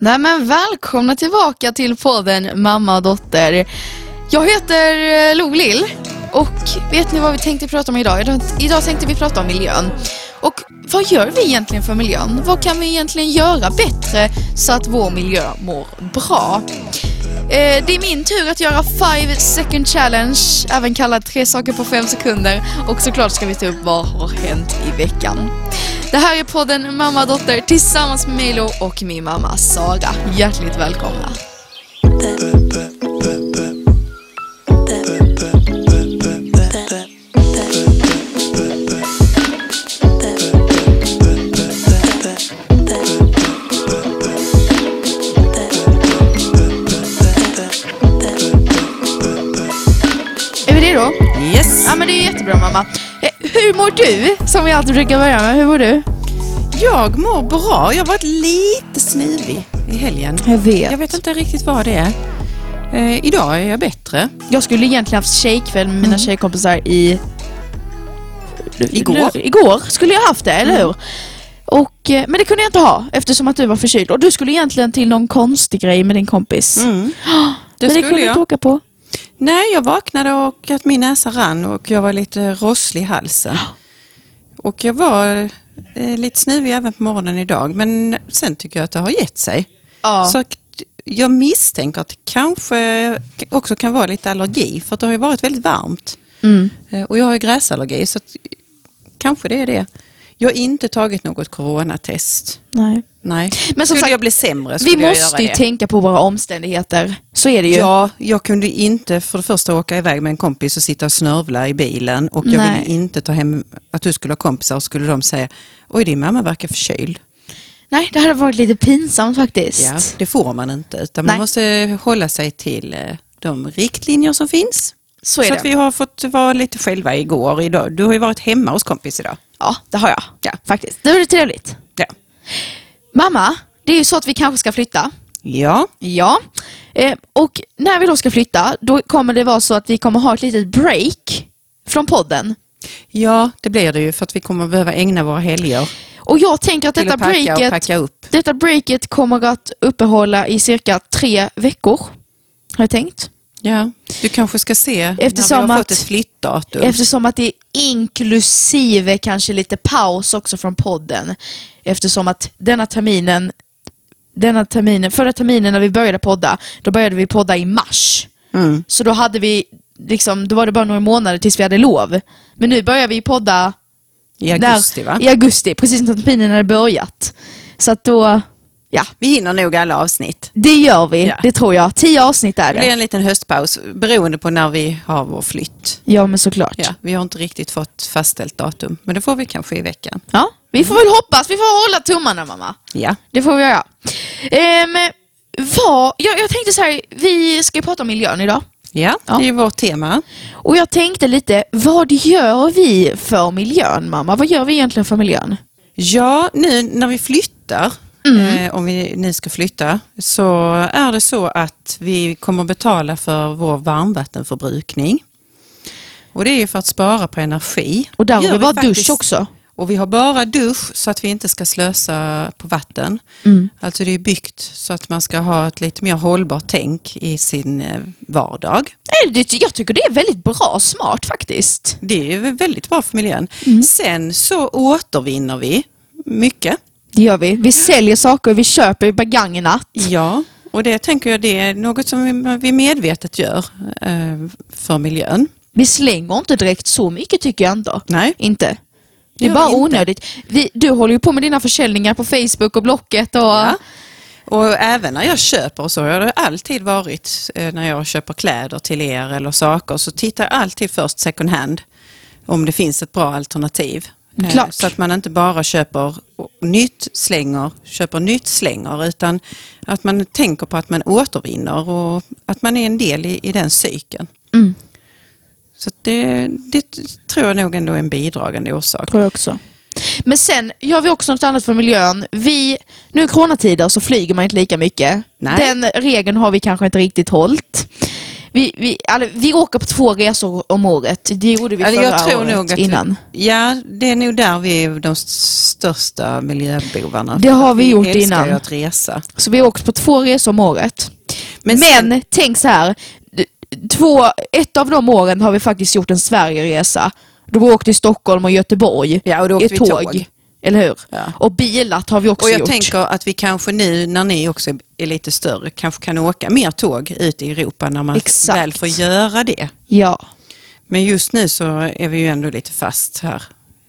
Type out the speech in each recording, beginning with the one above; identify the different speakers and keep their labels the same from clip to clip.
Speaker 1: Nej men välkomna tillbaka till podden Mamma och Dotter. Jag heter eh, Lolill och vet ni vad vi tänkte prata om idag? Idag- Idag tänkte vi prata om miljön. Och vad gör vi egentligen för miljön? Vad kan vi egentligen göra bättre så att vår miljö mår bra? Eh, det är min tur att göra 5 second challenge, även kallad tre saker på fem sekunder. Och såklart ska vi ta upp vad har hänt i veckan. Det här är podden Mamma och Dotter tillsammans med Milo och min mamma Sara. Hjärtligt välkomna. Är vi det då?
Speaker 2: Yes.
Speaker 1: Ja men det är jättebra mamma. Eh, Hur mår du? Som vi alltid brukar börja med. Hur mår du?
Speaker 2: Jag mår bra. Jag har varit lite snuvig i helgen.
Speaker 1: Jag vet.
Speaker 2: Jag vet inte riktigt vad det är. Eh, idag är jag bättre.
Speaker 1: Jag skulle egentligen haft tjejkväll med mina tjejkompisar i...
Speaker 2: Igår. Mm.
Speaker 1: Nu, igår skulle jag haft det, eller hur? Och, eh, men det kunde jag inte ha eftersom att du var förkyld. Och du skulle egentligen till någon konstig grej med din kompis.
Speaker 2: Mm, Det
Speaker 1: men det
Speaker 2: skulle
Speaker 1: kunde du inte
Speaker 2: jag.
Speaker 1: åka på.
Speaker 2: Nej, jag vaknade och att min näsa rann och jag var lite rosslig i halsen. Och jag var eh, lite snuvig även på morgonen idag, men sen tycker jag att det har gett sig.
Speaker 1: Ja.
Speaker 2: Så att jag misstänker att det kanske också kan vara lite allergi, för att det har ju varit väldigt varmt.
Speaker 1: Mm,
Speaker 2: Eh, Och jag har ju gräsallergi, så att, kanske det är det. Jag har inte tagit något coronatest.
Speaker 1: Nej.
Speaker 2: Nej.
Speaker 1: Men som
Speaker 2: skulle
Speaker 1: sagt,
Speaker 2: jag bli sämre skulle
Speaker 1: Vi
Speaker 2: jag
Speaker 1: måste ju
Speaker 2: göra det.
Speaker 1: tänka på våra omständigheter. Så är det ju.
Speaker 2: Ja, jag kunde inte för det första åka iväg med en kompis och sitta och snörvla i bilen och jag
Speaker 1: Nej.
Speaker 2: ville inte ta hem att du skulle ha kompisar och skulle de säga oj din mamma verkar förkyld.
Speaker 1: Nej, det hade varit lite pinsamt faktiskt.
Speaker 2: Ja, det får man inte utan
Speaker 1: Nej.
Speaker 2: man måste hålla sig till eh, de riktlinjer som finns.
Speaker 1: Så är
Speaker 2: så
Speaker 1: det.
Speaker 2: att vi har fått vara lite själva igår. Idag. Du har ju varit hemma hos kompis idag.
Speaker 1: Ja, det har jag.
Speaker 2: Ja.
Speaker 1: Faktiskt. Det var det trevligt.
Speaker 2: Ja,
Speaker 1: Mamma, det är ju så att vi kanske ska flytta.
Speaker 2: ja.
Speaker 1: Ja, eh, och när vi då ska flytta, då kommer det vara så att vi kommer ha ett litet break från podden.
Speaker 2: ja det blir det ju för att vi kommer behöva ägna våra helger
Speaker 1: Och jag tänker att
Speaker 2: till
Speaker 1: detta
Speaker 2: att packa och
Speaker 1: breaket,
Speaker 2: packa upp.
Speaker 1: detta breaket kommer att uppehålla i cirka tre veckor, har jag tänkt.
Speaker 2: Ja. Du kanske ska se när
Speaker 1: Eftersom
Speaker 2: vi har fått
Speaker 1: att-
Speaker 2: ett flyttdatum.
Speaker 1: Eftersom att det är inklusive kanske lite paus också från podden. Eftersom att denna terminen, denna terminen, förra terminen när vi började podda, då började vi podda i mars.
Speaker 2: Mm.
Speaker 1: Så då hade vi, liksom, då var det bara några månader tills vi hade lov. Men nu börjar vi podda
Speaker 2: I augusti va?
Speaker 1: där, i augusti, precis när terminen hade börjat. Så att då, ja,
Speaker 2: Vi hinner nog alla avsnitt.
Speaker 1: det gör vi.
Speaker 2: Ja.
Speaker 1: Det tror jag. Tio avsnitt är
Speaker 2: Det blir
Speaker 1: det.
Speaker 2: en liten höstpaus beroende på när vi har vår flytt.
Speaker 1: Ja, men såklart.
Speaker 2: Ja, vi har inte riktigt fått fastställt datum, men det får vi kanske i veckan.
Speaker 1: Ja, vi får väl hoppas. Vi får hålla tummarna, mamma.
Speaker 2: Ja.
Speaker 1: Det får vi göra. Ehm, vad, jag, jag tänkte så här, vi ska ju prata om miljön idag.
Speaker 2: Ja,
Speaker 1: Ja.
Speaker 2: det är ju vårt tema.
Speaker 1: Och jag tänkte lite, vad gör vi för miljön, mamma? Vad gör vi egentligen för miljön?
Speaker 2: Ja, nu när vi flyttar,
Speaker 1: Mm.
Speaker 2: eh, om vi nu ska flytta, så är det så att vi kommer betala för vår varmvattenförbrukning. Och det är ju för att spara på energi.
Speaker 1: Och där
Speaker 2: Gör
Speaker 1: har vi bara dusch
Speaker 2: faktiskt-
Speaker 1: också.
Speaker 2: Och vi har bara dusch så att vi inte ska slösa på vatten.
Speaker 1: Mm.
Speaker 2: Alltså det är byggt så att man ska ha ett lite mer hållbart tänk i sin eh, vardag.
Speaker 1: Nej, det, jag tycker det är väldigt bra smart faktiskt.
Speaker 2: Det är ju väldigt bra för miljön.
Speaker 1: Mm.
Speaker 2: Sen så återvinner vi mycket.
Speaker 1: Det gör vi. Vi säljer saker, vi köper begagnat.
Speaker 2: Ja, och det tänker jag det är något som vi- vi medvetet gör eh, för miljön.
Speaker 1: Vi slänger inte direkt så mycket tycker jag ändå.
Speaker 2: Nej,
Speaker 1: Inte. Det
Speaker 2: Gör
Speaker 1: är
Speaker 2: vi
Speaker 1: bara
Speaker 2: inte.
Speaker 1: onödigt. Vi, du håller ju på med dina försäljningar på Facebook och Blocket och...
Speaker 2: Ja. Och även när jag köper och så har det alltid varit eh, när jag köper kläder till er eller saker så tittar jag alltid först second hand om det finns ett bra alternativ. Eh,
Speaker 1: Klart.
Speaker 2: Så att man inte bara köper nytt, slänger, köper nytt, slänger utan att man tänker på att man återvinner och att man är en del i, i den cykeln.
Speaker 1: Mm.
Speaker 2: Så att det, det tror jag nog ändå är en bidragande orsak.
Speaker 1: Tror jag också. Men sen gör vi också något annat för miljön. Vi, nu i coronatider så flyger man inte lika mycket.
Speaker 2: Nej.
Speaker 1: Den regeln har vi kanske inte riktigt hållit. Vi, vi, alltså, vi åker på två resor om året. Det gjorde vi
Speaker 2: Ja,
Speaker 1: förra
Speaker 2: jag tror
Speaker 1: året
Speaker 2: nog att
Speaker 1: innan.
Speaker 2: Ja, det är nog där vi är de största miljöbovarna.
Speaker 1: Det har vi gjort
Speaker 2: älskar
Speaker 1: innan.
Speaker 2: ju att resa.
Speaker 1: Så vi har åkt på två resor om året. Men,
Speaker 2: Men sen-
Speaker 1: tänk så här. d- Två, ett av de åren har vi faktiskt gjort en Sverigeresa. Då har vi åkt till Stockholm och Göteborg.
Speaker 2: Ja, och då
Speaker 1: i
Speaker 2: åkte
Speaker 1: ett
Speaker 2: vi
Speaker 1: tåg.
Speaker 2: tåg.
Speaker 1: Eller hur?
Speaker 2: Ja.
Speaker 1: Och bilat har vi också
Speaker 2: Och jag
Speaker 1: gjort.
Speaker 2: tänker att vi kanske nu när ni också är lite större kanske kan åka mer tåg ut i Europa när man
Speaker 1: Exakt.
Speaker 2: väl får göra det.
Speaker 1: Ja,
Speaker 2: Men just nu så är vi ju ändå lite fast här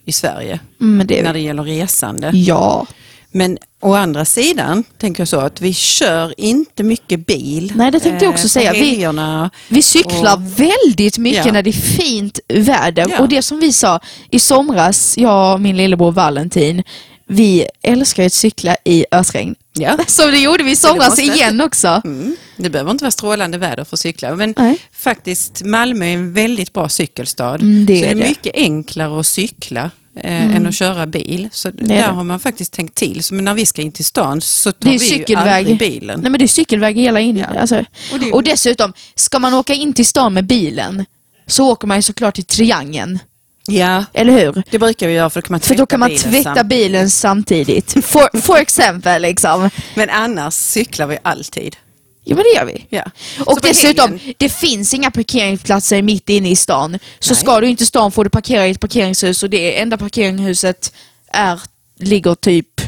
Speaker 2: i Sverige
Speaker 1: men det
Speaker 2: när det gäller resande.
Speaker 1: Mm, Ja.
Speaker 2: Men å andra sidan tänker jag så att vi kör inte mycket bil. eh,
Speaker 1: Nej, det tänkte jag också
Speaker 2: på
Speaker 1: säga. Vi-
Speaker 2: helgerna.
Speaker 1: Vi cyklar väldigt mycket
Speaker 2: Ja.
Speaker 1: när det är fint väder.
Speaker 2: Ja.
Speaker 1: Och det som vi sa i somras, jag och min lillebror Valentin, vi älskar ju att cykla i ösregn.
Speaker 2: Ja.
Speaker 1: Så det gjorde vi i
Speaker 2: det
Speaker 1: somras
Speaker 2: måste.
Speaker 1: igen också.
Speaker 2: Mm. Det behöver inte vara strålande väder för att cykla, men
Speaker 1: Nej.
Speaker 2: faktiskt Malmö är en väldigt bra cykelstad.
Speaker 1: Mm, det är
Speaker 2: så det är
Speaker 1: det.
Speaker 2: mycket enklare att cykla eh, än att köra bil. Så
Speaker 1: är
Speaker 2: där
Speaker 1: det.
Speaker 2: har man faktiskt tänkt till. Så men när vi ska in till stan så tar
Speaker 1: Det är
Speaker 2: vi ju aldrig
Speaker 1: cykelväg.
Speaker 2: bilen.
Speaker 1: Nej men det är cykelväg hela in. Alltså.
Speaker 2: Och det är-
Speaker 1: Och, dessutom, ska man åka in till stan med bilen så åker man ju såklart till triangeln.
Speaker 2: Ja,
Speaker 1: Eller hur?
Speaker 2: det brukar vi göra för då kan man
Speaker 1: För
Speaker 2: tvätta,
Speaker 1: då kan man
Speaker 2: bilen
Speaker 1: tvätta
Speaker 2: sam-
Speaker 1: bilen samtidigt. For, for exempel liksom.
Speaker 2: Men annars cyklar vi alltid.
Speaker 1: Ja men det gör vi.
Speaker 2: Ja.
Speaker 1: Och
Speaker 2: Så på
Speaker 1: dessutom,
Speaker 2: helgen-
Speaker 1: det finns inga parkeringsplatser mitt inne i stan. Så ska du inte i stan får du parkera i ett parkeringshus och det enda parkeringshuset är, ligger typ...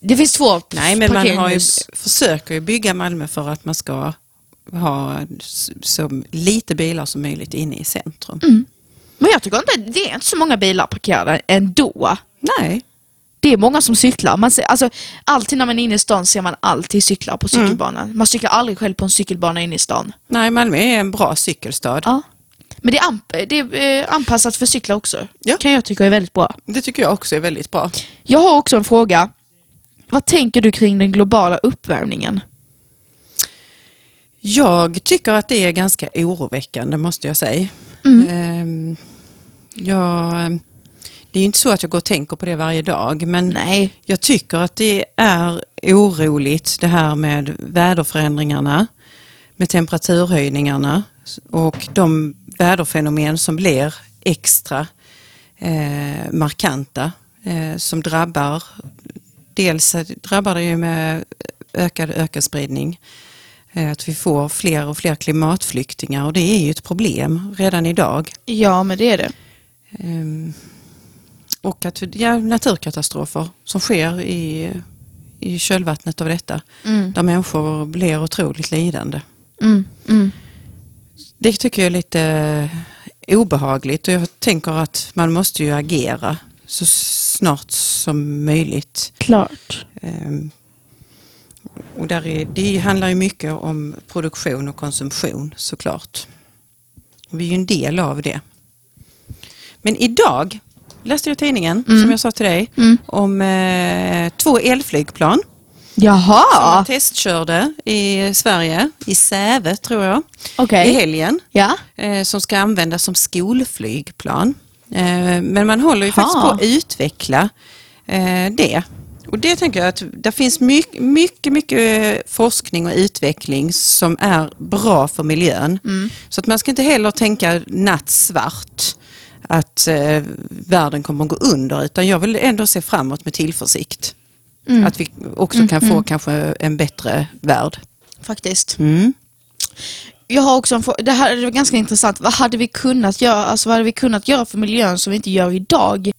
Speaker 1: Det finns två
Speaker 2: Nej, men man har ju,
Speaker 1: parkeringshus.
Speaker 2: försöker ju bygga Malmö för att man ska ha s- så lite bilar som möjligt inne i centrum.
Speaker 1: Mm. Men jag tycker inte, det är inte så många bilar parkerade ändå.
Speaker 2: Nej,
Speaker 1: Det är många som cyklar. Man ser, alltså, alltid när man är inne i stan ser man alltid cyklar på cykelbanan. Man cyklar aldrig själv på en cykelbana inne i stan.
Speaker 2: Nej, Malmö är en bra cykelstad.
Speaker 1: Ja. Men det är, amp- det är eh, anpassat för cyklar också.
Speaker 2: Ja.
Speaker 1: kan jag tycka är väldigt bra.
Speaker 2: Det tycker jag också är väldigt bra.
Speaker 1: Jag har också en fråga. Vad tänker du kring den globala uppvärmningen?
Speaker 2: Jag tycker att det är ganska oroväckande måste jag säga.
Speaker 1: Mm.
Speaker 2: Ehm, jag, det är ju inte så att jag går och tänker på det varje dag men
Speaker 1: Nej.
Speaker 2: jag tycker att det är oroligt det här med väderförändringarna, med temperaturhöjningarna och de väderfenomen som blir extra eh, markanta eh, som drabbar dels drabbar det ju med ökad ökenspridning. eh, Att vi får fler och fler klimatflyktingar och det är ju ett problem redan idag.
Speaker 1: Ja, men det är det.
Speaker 2: Ehm, Och att ja, naturkatastrofer som sker i, i kölvattnet av detta. Där människor blir otroligt lidande.
Speaker 1: Mm, mm.
Speaker 2: Det tycker jag är lite obehagligt och jag tänker att man måste ju agera så snart som möjligt.
Speaker 1: Klart.
Speaker 2: Ehm, Och där är, det handlar ju mycket om produktion och konsumtion såklart. Och vi är ju en del av det. Men idag läste jag tidningen, som jag sa till dig, om eh, två elflygplan som
Speaker 1: Jaha!
Speaker 2: man testkörde i Sverige, i Säve tror jag,
Speaker 1: Okej.
Speaker 2: i helgen
Speaker 1: Ja.
Speaker 2: eh, som ska användas som skolflygplan. Eh, men man håller ju
Speaker 1: Ha.
Speaker 2: faktiskt på att utveckla eh, det. Och det tänker jag att det finns mycket, mycket, mycket forskning och utveckling som är bra för miljön. Så att man ska inte heller tänka nattsvart att eh, världen kommer att gå under utan jag vill ändå se framåt med tillförsikt. Att vi också kan få kanske en bättre värld. Mm.
Speaker 1: Faktiskt. Jag har också en fråga. Det här är ganska intressant. Vad hade vi kunnat göra? Alltså, vad hade vi kunnat göra för miljön som vi inte gör idag?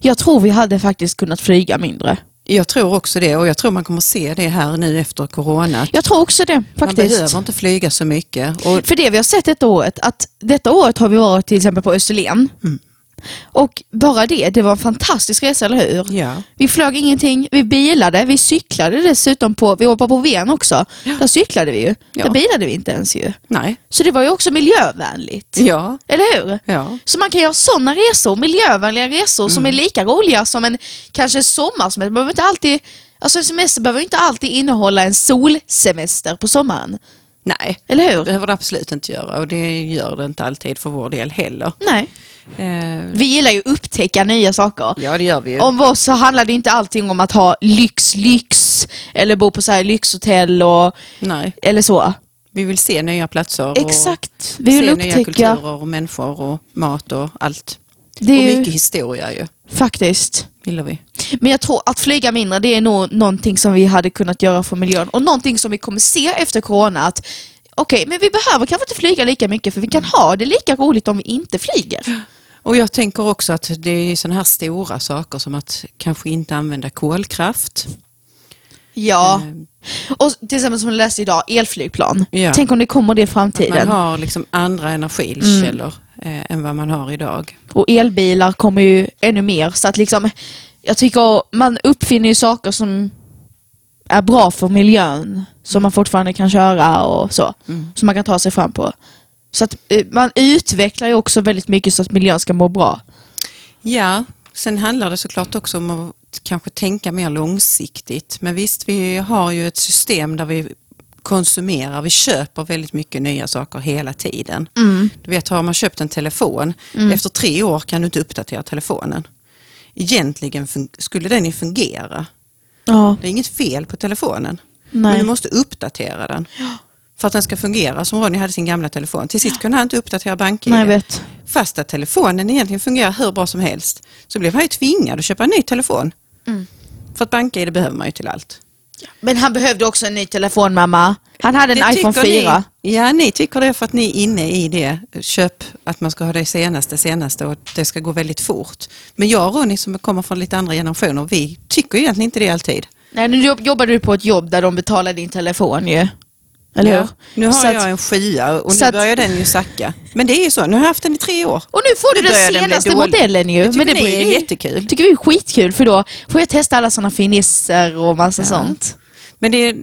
Speaker 1: Jag tror vi hade faktiskt kunnat flyga mindre.
Speaker 2: Jag tror också det och jag tror man kommer se det här nu efter corona.
Speaker 1: Jag tror också det,
Speaker 2: Man
Speaker 1: faktiskt.
Speaker 2: behöver inte flyga så mycket. Och,
Speaker 1: För det vi har sett detta året, att detta året har vi varit till exempel på Österlen.
Speaker 2: Mm.
Speaker 1: Och bara det, det var en fantastisk resa, eller hur?
Speaker 2: ja.
Speaker 1: Vi flög ingenting, vi bilade, vi cyklade dessutom på, vi hoppade på Ven också. Där cyklade vi ju.
Speaker 2: Ja.
Speaker 1: Där bilade vi inte ens ju.
Speaker 2: Nej.
Speaker 1: Så det var ju också miljövänligt.
Speaker 2: Ja.
Speaker 1: Eller hur?
Speaker 2: Ja.
Speaker 1: Så man kan göra sådana resor, miljövänliga resor som
Speaker 2: Mm.
Speaker 1: är lika roliga som en kanske en sommarsemester. Man behöver inte alltid, alltså en semester behöver inte alltid innehålla en solsemester på sommaren.
Speaker 2: Nej.
Speaker 1: Eller hur?
Speaker 2: Det behöver det absolut inte göra och det gör det inte alltid för vår del heller.
Speaker 1: Nej.
Speaker 2: Eh,
Speaker 1: Vi gillar ju att upptäcka nya saker.
Speaker 2: ja, det gör vi ju.
Speaker 1: Om oss så handlar det inte allting om att ha lyx, lyx eller bo på så här lyxhotell och
Speaker 2: Nej.
Speaker 1: eller så.
Speaker 2: Vi vill se nya platser
Speaker 1: Exakt.
Speaker 2: och
Speaker 1: Vi vill
Speaker 2: se nya
Speaker 1: upptäcka.
Speaker 2: kulturer och människor och mat och allt.
Speaker 1: Det
Speaker 2: och
Speaker 1: är
Speaker 2: mycket
Speaker 1: ju
Speaker 2: historia ju,
Speaker 1: faktiskt.
Speaker 2: gillar vi.
Speaker 1: Men jag tror att flyga mindre, det är nog någonting som vi hade kunnat göra för miljön och någonting som vi kommer se efter corona att okej, men vi behöver kanske inte flyga lika mycket för vi kan ha det lika roligt om vi inte flyger.
Speaker 2: Och jag tänker också att det är sådana här stora saker som att kanske inte använda kolkraft.
Speaker 1: Ja. Och till exempel som jag läste idag, elflygplan.
Speaker 2: Ja.
Speaker 1: Tänk om det kommer det i framtiden.
Speaker 2: Man har liksom andra energikällor eh, än vad man har idag.
Speaker 1: Och elbilar kommer ju ännu mer. Så att liksom, jag tycker man uppfinner ju saker som är bra för miljön, som man fortfarande kan köra och så.
Speaker 2: Mm.
Speaker 1: Som man kan ta sig fram på. Så att eh, man utvecklar ju också väldigt mycket så att miljön ska må bra.
Speaker 2: Ja, sen handlar det såklart också om att kanske tänka mer långsiktigt. Men visst, vi har ju ett system där vi konsumerar, vi köper väldigt mycket nya saker hela tiden. Du vet, har man köpt en telefon, efter tre år kan du inte uppdatera telefonen. Egentligen fun- skulle den ju fungera.
Speaker 1: Ja,
Speaker 2: Det är inget fel på telefonen,
Speaker 1: Nej.
Speaker 2: men du måste uppdatera den. För att den ska fungera som Ronny hade sin gamla telefon. Till sist kunde han inte uppdatera banken.
Speaker 1: nej, jag vet.
Speaker 2: Fast att telefonen egentligen fungerar hur bra som helst så blev han ju tvingad att köpa en ny telefon.
Speaker 1: Mm.
Speaker 2: För att bank-id behöver man ju till allt.
Speaker 1: Men han behövde också en ny telefon mamma. Han hade en
Speaker 2: Det
Speaker 1: iPhone
Speaker 2: tycker
Speaker 1: 4.
Speaker 2: Ni, ja, ni tycker det för att ni är inne i det. Köp att man ska ha det senaste, senaste och att det ska gå väldigt fort. Men jag och Ronny som kommer från lite andra generationer, vi tycker ju egentligen inte det alltid.
Speaker 1: Nej, nu jobb- jobbade du på ett jobb där de betalade din telefon ju. Eller hur?
Speaker 2: Nu har
Speaker 1: Så att-
Speaker 2: jag en skia och
Speaker 1: så
Speaker 2: nu
Speaker 1: att-
Speaker 2: börjar den ju sacka. Men det är ju så, nu har jag haft den i tre år.
Speaker 1: Och nu får du
Speaker 2: Nu börjar
Speaker 1: den
Speaker 2: den bli
Speaker 1: senaste
Speaker 2: dålig.
Speaker 1: modellen ju.
Speaker 2: tycker ni är
Speaker 1: ju-
Speaker 2: jättekul.
Speaker 1: tycker vi är skitkul för då får jag testa alla sådana finisser och massa sånt.
Speaker 2: Men det,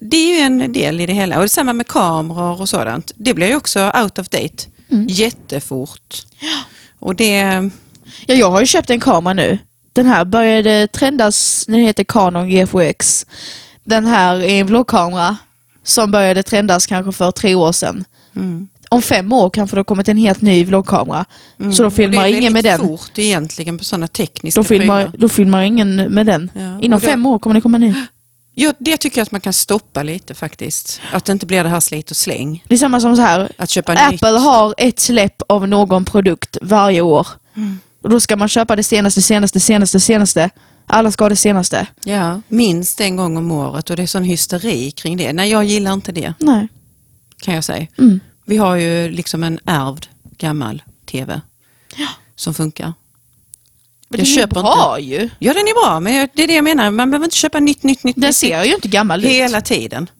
Speaker 2: det är ju en del i det hela. Och detsamma med kameror och sådant. Det blir ju också out of date
Speaker 1: Mm.
Speaker 2: jättefort. Och det, mm.
Speaker 1: Ja, jag har ju köpt en kamera nu. Den här började trendas, den heter Canon GFX. Den här är en vloggkamera som började trendas kanske för tre år sedan. Om fem år kanske det har kommit en helt ny vloggkamera. Så då filmar
Speaker 2: Mm. det är
Speaker 1: ingen med
Speaker 2: väldigt
Speaker 1: den.
Speaker 2: fort egentligen på sådana tekniska
Speaker 1: Då filmar,
Speaker 2: prylar.
Speaker 1: då filmar ingen med den.
Speaker 2: Ja, och
Speaker 1: Inom
Speaker 2: då-
Speaker 1: fem år kommer det komma en ny.
Speaker 2: Ja, det tycker jag att man kan stoppa lite faktiskt. Att det inte blir det här slit och släng.
Speaker 1: Det är samma som så här,
Speaker 2: Att köpa nytt.
Speaker 1: Apple har ett släpp av någon produkt varje år. Och då ska man köpa det senaste, senaste, senaste, senaste. Alla ska ha det senaste.
Speaker 2: Ja, minst en gång om året och det är sån hysteri kring det. Nej, jag gillar inte det
Speaker 1: Nej.
Speaker 2: kan jag säga.
Speaker 1: Mm.
Speaker 2: Vi har ju liksom en ärvd gammal TV som funkar.
Speaker 1: Men
Speaker 2: Jag
Speaker 1: den är
Speaker 2: köper
Speaker 1: bra ju.
Speaker 2: Ja, den är bra, men jag- det är det jag menar. Man behöver inte köpa nytt, nytt, nytt.
Speaker 1: Den
Speaker 2: nytt.
Speaker 1: ser ju inte gammal ut.
Speaker 2: Hela tiden.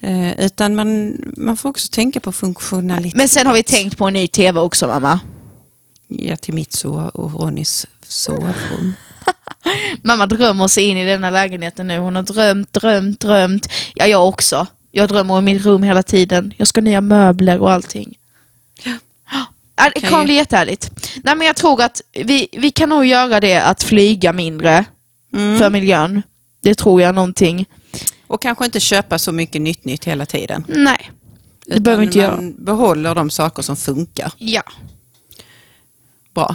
Speaker 2: Eh, utan man, man får också tänka på funktionalitet
Speaker 1: Men sen har vi tänkt på en ny TV också mamma.
Speaker 2: ja, till mitt sov och Ronnys sovrum.
Speaker 1: Mamma drömmer sig in i denna lägenheten nu. Hon har drömt, drömt, drömt. Ja, jag också. Jag drömmer om mitt rum hela tiden. Jag ska ha nya möbler och allting. Ja. Det
Speaker 2: Kan
Speaker 1: kommer
Speaker 2: ju-
Speaker 1: bli jättehärligt. Nej, men jag tror att vi, vi kan nog göra det att flyga mindre för miljön. Det tror jag någonting.
Speaker 2: Mm. Och kanske inte köpa så mycket nytt, nytt hela tiden.
Speaker 1: Nej, det
Speaker 2: Utan
Speaker 1: behöver vi inte
Speaker 2: man
Speaker 1: göra.
Speaker 2: behåller de saker som funkar
Speaker 1: Ja.
Speaker 2: bra.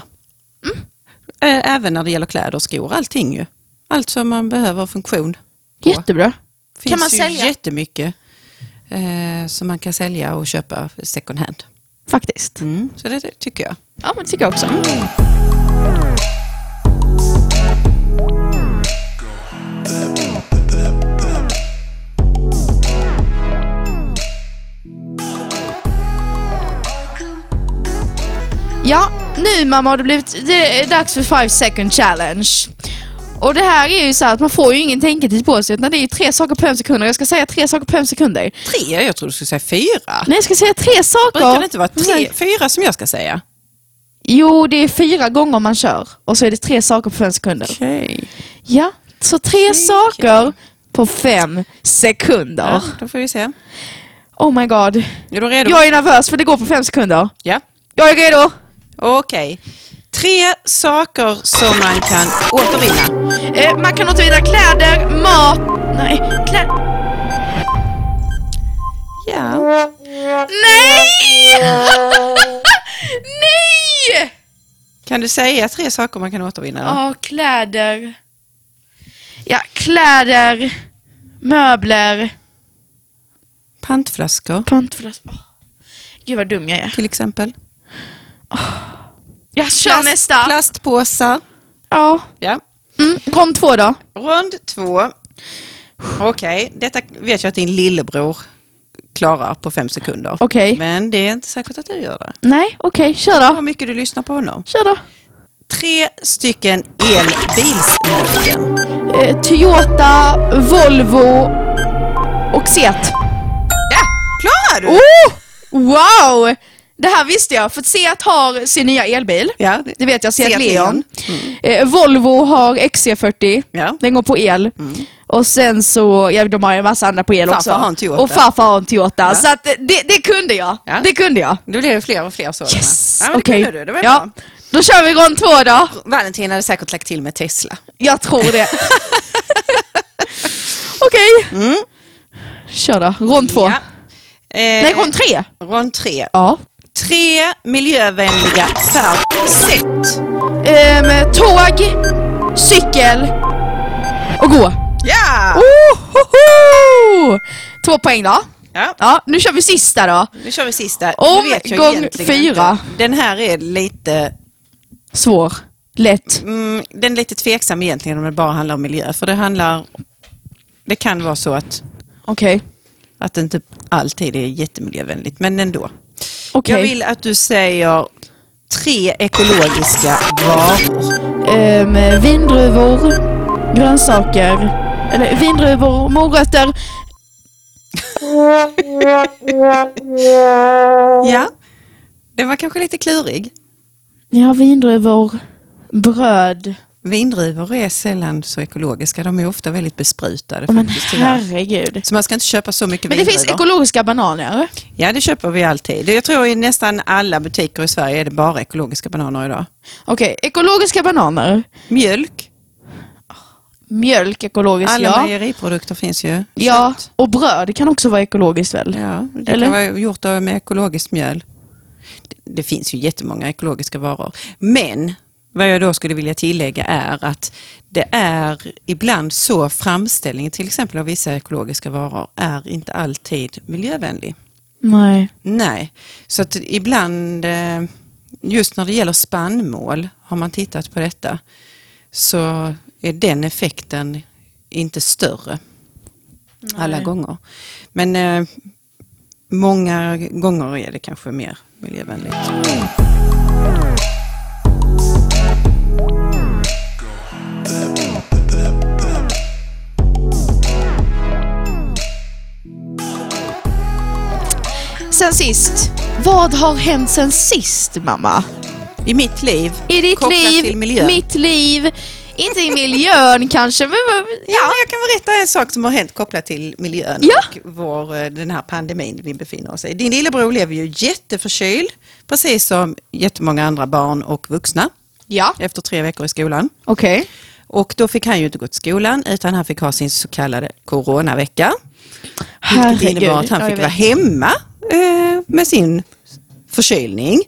Speaker 1: Mm.
Speaker 2: Eh, Även när det gäller kläder och skor, allting ju. Allt som man behöver funktion. på.
Speaker 1: Jättebra.
Speaker 2: finns
Speaker 1: man
Speaker 2: ju
Speaker 1: sälja?
Speaker 2: jättemycket eh, som man kan sälja och köpa second hand.
Speaker 1: Faktiskt.
Speaker 2: Mm. Så det det tycker jag.
Speaker 1: Ja, men det tycker jag också. Ja, nu mamma har det blivit det är dags för five second challenge. Och det här är ju så här att man får ju ingen tänketid på sig utan det är ju tre saker på en sekund och jag ska säga tre saker på en sekunder.
Speaker 2: Tre, jag trodde du skulle säga fyra.
Speaker 1: Nej, jag ska säga tre saker.
Speaker 2: Brukar det inte vara tre, fyra som jag ska säga?
Speaker 1: Jo, det är fyra gånger man kör och så är det tre saker på fem sekunder.
Speaker 2: Okej.
Speaker 1: Ja, så tre saker på fem sekunder.
Speaker 2: Ja, då får vi se.
Speaker 1: Oh my god.
Speaker 2: Är du redo?
Speaker 1: Jag är nervös för det går på fem sekunder.
Speaker 2: Ja.
Speaker 1: Jag är redo.
Speaker 2: Okej. Tre saker som man kan återvinna.
Speaker 1: Eh, man kan återvinna kläder, mat... Nej, kläder...
Speaker 2: Ja.
Speaker 1: Nej! Nej!
Speaker 2: Kan du säga tre saker man kan återvinna? då?
Speaker 1: Ja, kläder. Ja, kläder, möbler,
Speaker 2: Pantflaskor
Speaker 1: Pantflaska. Åh. Gud vad dum jag är.
Speaker 2: till exempel.
Speaker 1: Jag kör nästa.
Speaker 2: Plastpåsar.
Speaker 1: Ja.
Speaker 2: Ja.
Speaker 1: Mm, kom två då.
Speaker 2: Rond två. Okej, detta vet jag att din lillebror klarar på fem sekunder.
Speaker 1: Okej.
Speaker 2: Men det är inte säkert att du gör det.
Speaker 1: Nej, okej, kör
Speaker 2: Hur
Speaker 1: då.
Speaker 2: mycket du lyssnar på honom.
Speaker 1: Kör då.
Speaker 2: Tre stycken elbilsmärken.
Speaker 1: Eh, Toyota, Volvo och Seat.
Speaker 2: Ja, klarar du!
Speaker 1: Oh! Wow! Det här visste jag, för att Seat har sin nya elbil.
Speaker 2: Ja,
Speaker 1: Det vet jag, Seat,
Speaker 2: Seat
Speaker 1: Leon. Eh, Volvo har XC40.
Speaker 2: Ja. Mm.
Speaker 1: Den går på el. Och sen så, ja de har ju en massa andra på el
Speaker 2: Farfar
Speaker 1: också.
Speaker 2: har en Toyota.
Speaker 1: Och farfar har en Toyota. Så att eh, det, det kunde jag.
Speaker 2: Ja.
Speaker 1: Det kunde jag.
Speaker 2: Då blir det fler och fler sådana.
Speaker 1: Yes!
Speaker 2: Ja, men det
Speaker 1: Okej.
Speaker 2: kunde du, det var
Speaker 1: ja.
Speaker 2: bra.
Speaker 1: Då kör vi rond två då.
Speaker 2: Valentin hade säkert lagt till med Tesla.
Speaker 1: Jag tror det. Okej. Kör då. Rond två.
Speaker 2: Ja. Eh,
Speaker 1: Nej, rond tre.
Speaker 2: rond tre.
Speaker 1: Ja.
Speaker 2: Tre miljövänliga färdsätt.
Speaker 1: Ehm, tåg, cykel och gå.
Speaker 2: Ja!
Speaker 1: Ohoho! Två poäng då.
Speaker 2: ja!
Speaker 1: Ja, nu kör vi sista då.
Speaker 2: Nu kör vi sista.
Speaker 1: Om
Speaker 2: Nu vet jag
Speaker 1: gång
Speaker 2: egentligen
Speaker 1: fyra.
Speaker 2: Inte. Den här är lite,
Speaker 1: Svår. Lätt.
Speaker 2: mm, den är lite tveksam egentligen om det bara handlar om miljö. För det handlar, det kan vara så att,
Speaker 1: Okej.
Speaker 2: att det inte alltid är jättemiljövänligt, men ändå.
Speaker 1: Okej.
Speaker 2: Jag vill att du säger tre ekologiska varor.
Speaker 1: Ehm, vindruvor, grönsaker, eller vindruvor, morötter.
Speaker 2: Ja, den var kanske lite klurig.
Speaker 1: Ja, vindruvor, bröd.
Speaker 2: Vindruvor är sällan så ekologiska, de är ofta väldigt besprutade.
Speaker 1: Åh, men
Speaker 2: faktiskt, tyvärr.
Speaker 1: herregud.
Speaker 2: så man ska inte köpa så mycket
Speaker 1: Men det
Speaker 2: vindruvor.
Speaker 1: finns ekologiska bananer.
Speaker 2: Ja, det köper vi alltid. Jag tror i nästan alla butiker i Sverige är det bara ekologiska bananer idag.
Speaker 1: Okej, ekologiska bananer.
Speaker 2: Mjölk,
Speaker 1: Mjölk ekologiskt,
Speaker 2: alla
Speaker 1: ja.
Speaker 2: mejeriprodukter finns ju.
Speaker 1: Ja,
Speaker 2: Kött.
Speaker 1: och bröd kan också vara ekologiskt väl?
Speaker 2: ja det
Speaker 1: Eller?
Speaker 2: kan vara gjort av- med ekologiskt mjöl. Det, det finns ju jättemånga ekologiska varor. Men vad jag då skulle vilja tillägga är att det är ibland så framställningen till exempel av vissa ekologiska varor är inte alltid miljövänlig.
Speaker 1: Nej.
Speaker 2: Nej, så att ibland, eh, just när det gäller spannmål, har man tittat på detta, så är den effekten inte större alla gånger. Men eh, många gånger är det kanske mer miljövänligt.
Speaker 1: Sen sist, vad har hänt sen sist mamma?
Speaker 2: I mitt liv,
Speaker 1: I ditt
Speaker 2: kopplat
Speaker 1: liv,
Speaker 2: till miljön.
Speaker 1: mitt liv, inte i miljön kanske, men men-
Speaker 2: Ja, jag kan berätta en sak som har hänt kopplat till miljön
Speaker 1: Ja.
Speaker 2: och vår, eh, den här pandemin vi befinner oss i. Din lillebror blev ju jätteförkyld, precis som jättemånga andra barn och vuxna,
Speaker 1: ja.
Speaker 2: efter tre veckor i skolan.
Speaker 1: Okej.
Speaker 2: Och då fick han ju inte gå till skolan utan han fick ha sin så kallade coronavecka. Vilket
Speaker 1: Herregud.
Speaker 2: innebar att
Speaker 1: Ja,
Speaker 2: han
Speaker 1: jag
Speaker 2: fick
Speaker 1: vet.
Speaker 2: vara hemma eh, med sin förkylning.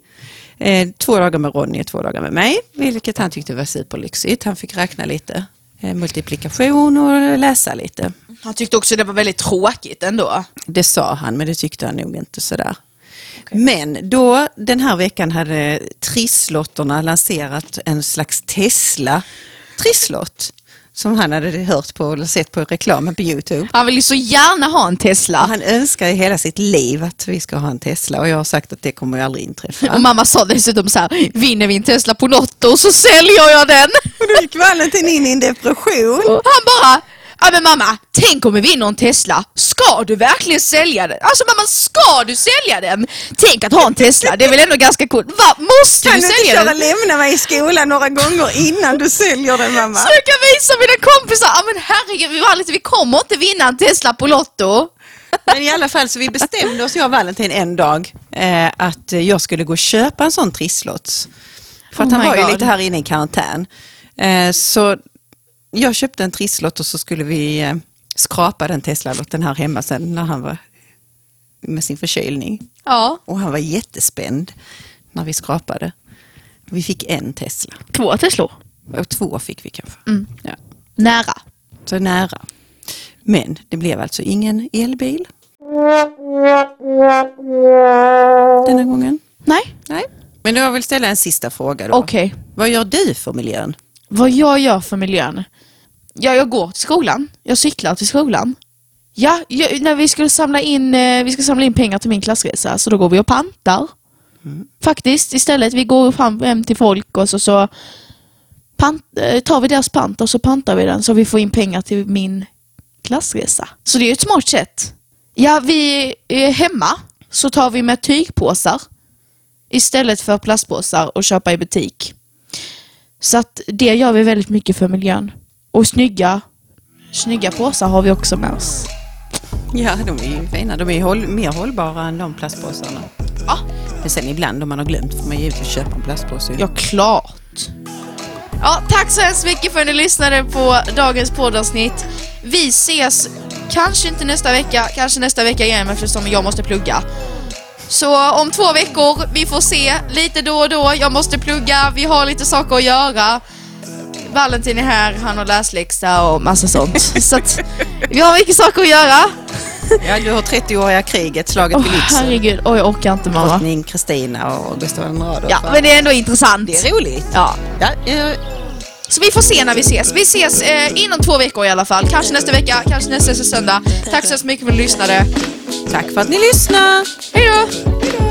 Speaker 2: Eh, två dagar med Ronny och två dagar med mig, vilket han tyckte var superlyxigt. Han fick räkna lite eh, multiplikation och läsa lite.
Speaker 1: Han tyckte också det var väldigt tråkigt ändå.
Speaker 2: Det sa han, men det tyckte han nog inte sådär. Men då den här veckan hade trisslotterna lanserat en slags Tesla trisslott som han hade hört på eller sett på reklamen på Youtube.
Speaker 1: Han vill ju så gärna ha en Tesla.
Speaker 2: Och han önskar i hela sitt liv att vi ska ha en Tesla och jag har sagt att det kommer ju aldrig inträffa.
Speaker 1: Och mamma sa dessutom så här, vinner vi en Tesla på Lotto så säljer jag den.
Speaker 2: Och då gick Valentin in i en depression.
Speaker 1: Och han bara, ja men mamma, tänk om vi vinner en Tesla, ska du verkligen sälja den? Alltså mamma, ska du sälja den? Tänk att ha en Tesla, det är väl ändå ganska coolt. Va, måste
Speaker 2: Kan
Speaker 1: du
Speaker 2: du inte
Speaker 1: sälja
Speaker 2: köra
Speaker 1: den?
Speaker 2: lämna mig i skolan några gånger innan du säljer den mamma?
Speaker 1: Så jag kan visa mina kompisar, ja men herregud, vi, var lite, vi kommer inte vinna en Tesla på Lotto.
Speaker 2: Men i alla fall så vi bestämde oss, jag och Valentin, en dag eh, att jag skulle gå och köpa en sån trisslott. För att
Speaker 1: Oh
Speaker 2: han
Speaker 1: my
Speaker 2: var
Speaker 1: God.
Speaker 2: ju lite här inne i karantän. Eh, så jag köpte en trisslott och så skulle vi eh, skrapa den Tesla-lotten här hemma sen när han var med sin förkylning.
Speaker 1: Ja,
Speaker 2: Och han var jättespänd när vi skrapade. Vi fick en Tesla,
Speaker 1: två Teslor.
Speaker 2: och två fick vi kanske.
Speaker 1: Mm.
Speaker 2: Ja,
Speaker 1: Nära.
Speaker 2: så nära. Men det blev alltså ingen elbil. denna gången?
Speaker 1: Nej,
Speaker 2: Nej. Men jag vill ställa en sista fråga då.
Speaker 1: okej.
Speaker 2: Vad gör du för miljön?
Speaker 1: Vad jag gör för miljön? Ja, jag går till skolan. Jag cyklar till skolan. Ja, jag, när vi skulle samla in, eh, vi ska samla in pengar till min klassresa, så då går vi och pantar. Faktiskt, istället. Vi går fram hem till folk och så, så pant, eh, tar vi deras pant och så pantar vi den så vi får in pengar till min klassresa. Så det är ju ett smart sätt. Ja, vi är hemma så tar vi med tygpåsar istället för plastpåsar och köpa i butik. Så att det gör vi väldigt mycket för miljön. Och snygga, snygga påsar har vi också med oss.
Speaker 2: Ja, de är ju fina. De är ju håll, mer hållbara än de plastpåsarna.
Speaker 1: Ja,
Speaker 2: Men sen ibland om man har glömt får man givetvis köpa en plastpåse.
Speaker 1: ja klart. Ja, tack så hemskt mycket för att ni lyssnade på dagens poddavsnitt. Vi ses kanske inte nästa vecka, kanske nästa vecka igen eftersom jag måste plugga. Så om två veckor, vi får se lite då och då. Jag måste plugga, vi har lite saker att göra. Valentin är här, han har läsläxa och massa sånt. Så att vi har mycket saker att göra.
Speaker 2: Ja, du har 30-åriga kriget, slaget
Speaker 1: Åh
Speaker 2: vid Lützen.
Speaker 1: herregud, oj jag orkar inte mamma.
Speaker 2: Drottning Kristina och Gustav II Adolf.
Speaker 1: Ja, men det är ändå intressant.
Speaker 2: det är roligt.
Speaker 1: Ja.
Speaker 2: Ja, eh,
Speaker 1: Så vi får se när vi ses. Vi ses eh, inom två veckor i alla fall. Kanske nästa vecka, kanske nästa söndag. Tack så hemskt mycket för att ni lyssnade.
Speaker 2: tack för att ni lyssnade.
Speaker 1: Hej då!